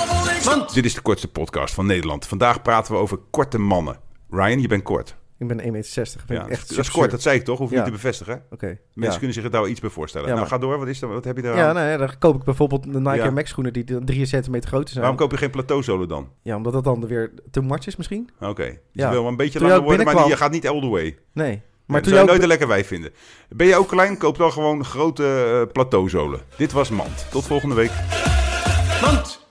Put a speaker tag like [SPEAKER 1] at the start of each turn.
[SPEAKER 1] Interessant.
[SPEAKER 2] Dit is de kortste podcast van Nederland. Vandaag praten we over korte mannen. Ryan, je bent kort.
[SPEAKER 3] Ik ben 1,60 meter.
[SPEAKER 2] Ja,
[SPEAKER 3] Ja, echt
[SPEAKER 2] dat is
[SPEAKER 3] absurd.
[SPEAKER 2] kort, dat zei ik toch? Hoef je
[SPEAKER 3] Ja.
[SPEAKER 2] niet te bevestigen.
[SPEAKER 3] Oké.
[SPEAKER 2] Mensen
[SPEAKER 3] ja.
[SPEAKER 2] kunnen zich het daar wel iets bij voorstellen.
[SPEAKER 3] Ja,
[SPEAKER 2] nou,
[SPEAKER 3] maar-
[SPEAKER 2] ga door. Wat, is er, wat heb je daar?
[SPEAKER 3] Ja, nou ja, dan koop ik bijvoorbeeld de Nike
[SPEAKER 2] Ja.
[SPEAKER 3] Air Max schoenen die dan 3 centimeter groter zijn.
[SPEAKER 2] Waarom koop je geen plateauzolen dan?
[SPEAKER 3] Ja, omdat dat dan weer te much is misschien?
[SPEAKER 2] Oké. Dus
[SPEAKER 3] Ja.
[SPEAKER 2] je wil wel een beetje
[SPEAKER 3] Toen
[SPEAKER 2] langer
[SPEAKER 3] jij
[SPEAKER 2] worden, maar je
[SPEAKER 3] binnenkwam-
[SPEAKER 2] gaat niet all the way.
[SPEAKER 3] Nee.
[SPEAKER 2] Maar toen zou
[SPEAKER 3] Maar toen
[SPEAKER 2] je
[SPEAKER 3] jou...
[SPEAKER 2] nooit een lekker wijf vinden. Ben je ook klein, koop dan gewoon grote eh, plateauzolen. Dit was Mand. Tot volgende week.
[SPEAKER 1] Mand.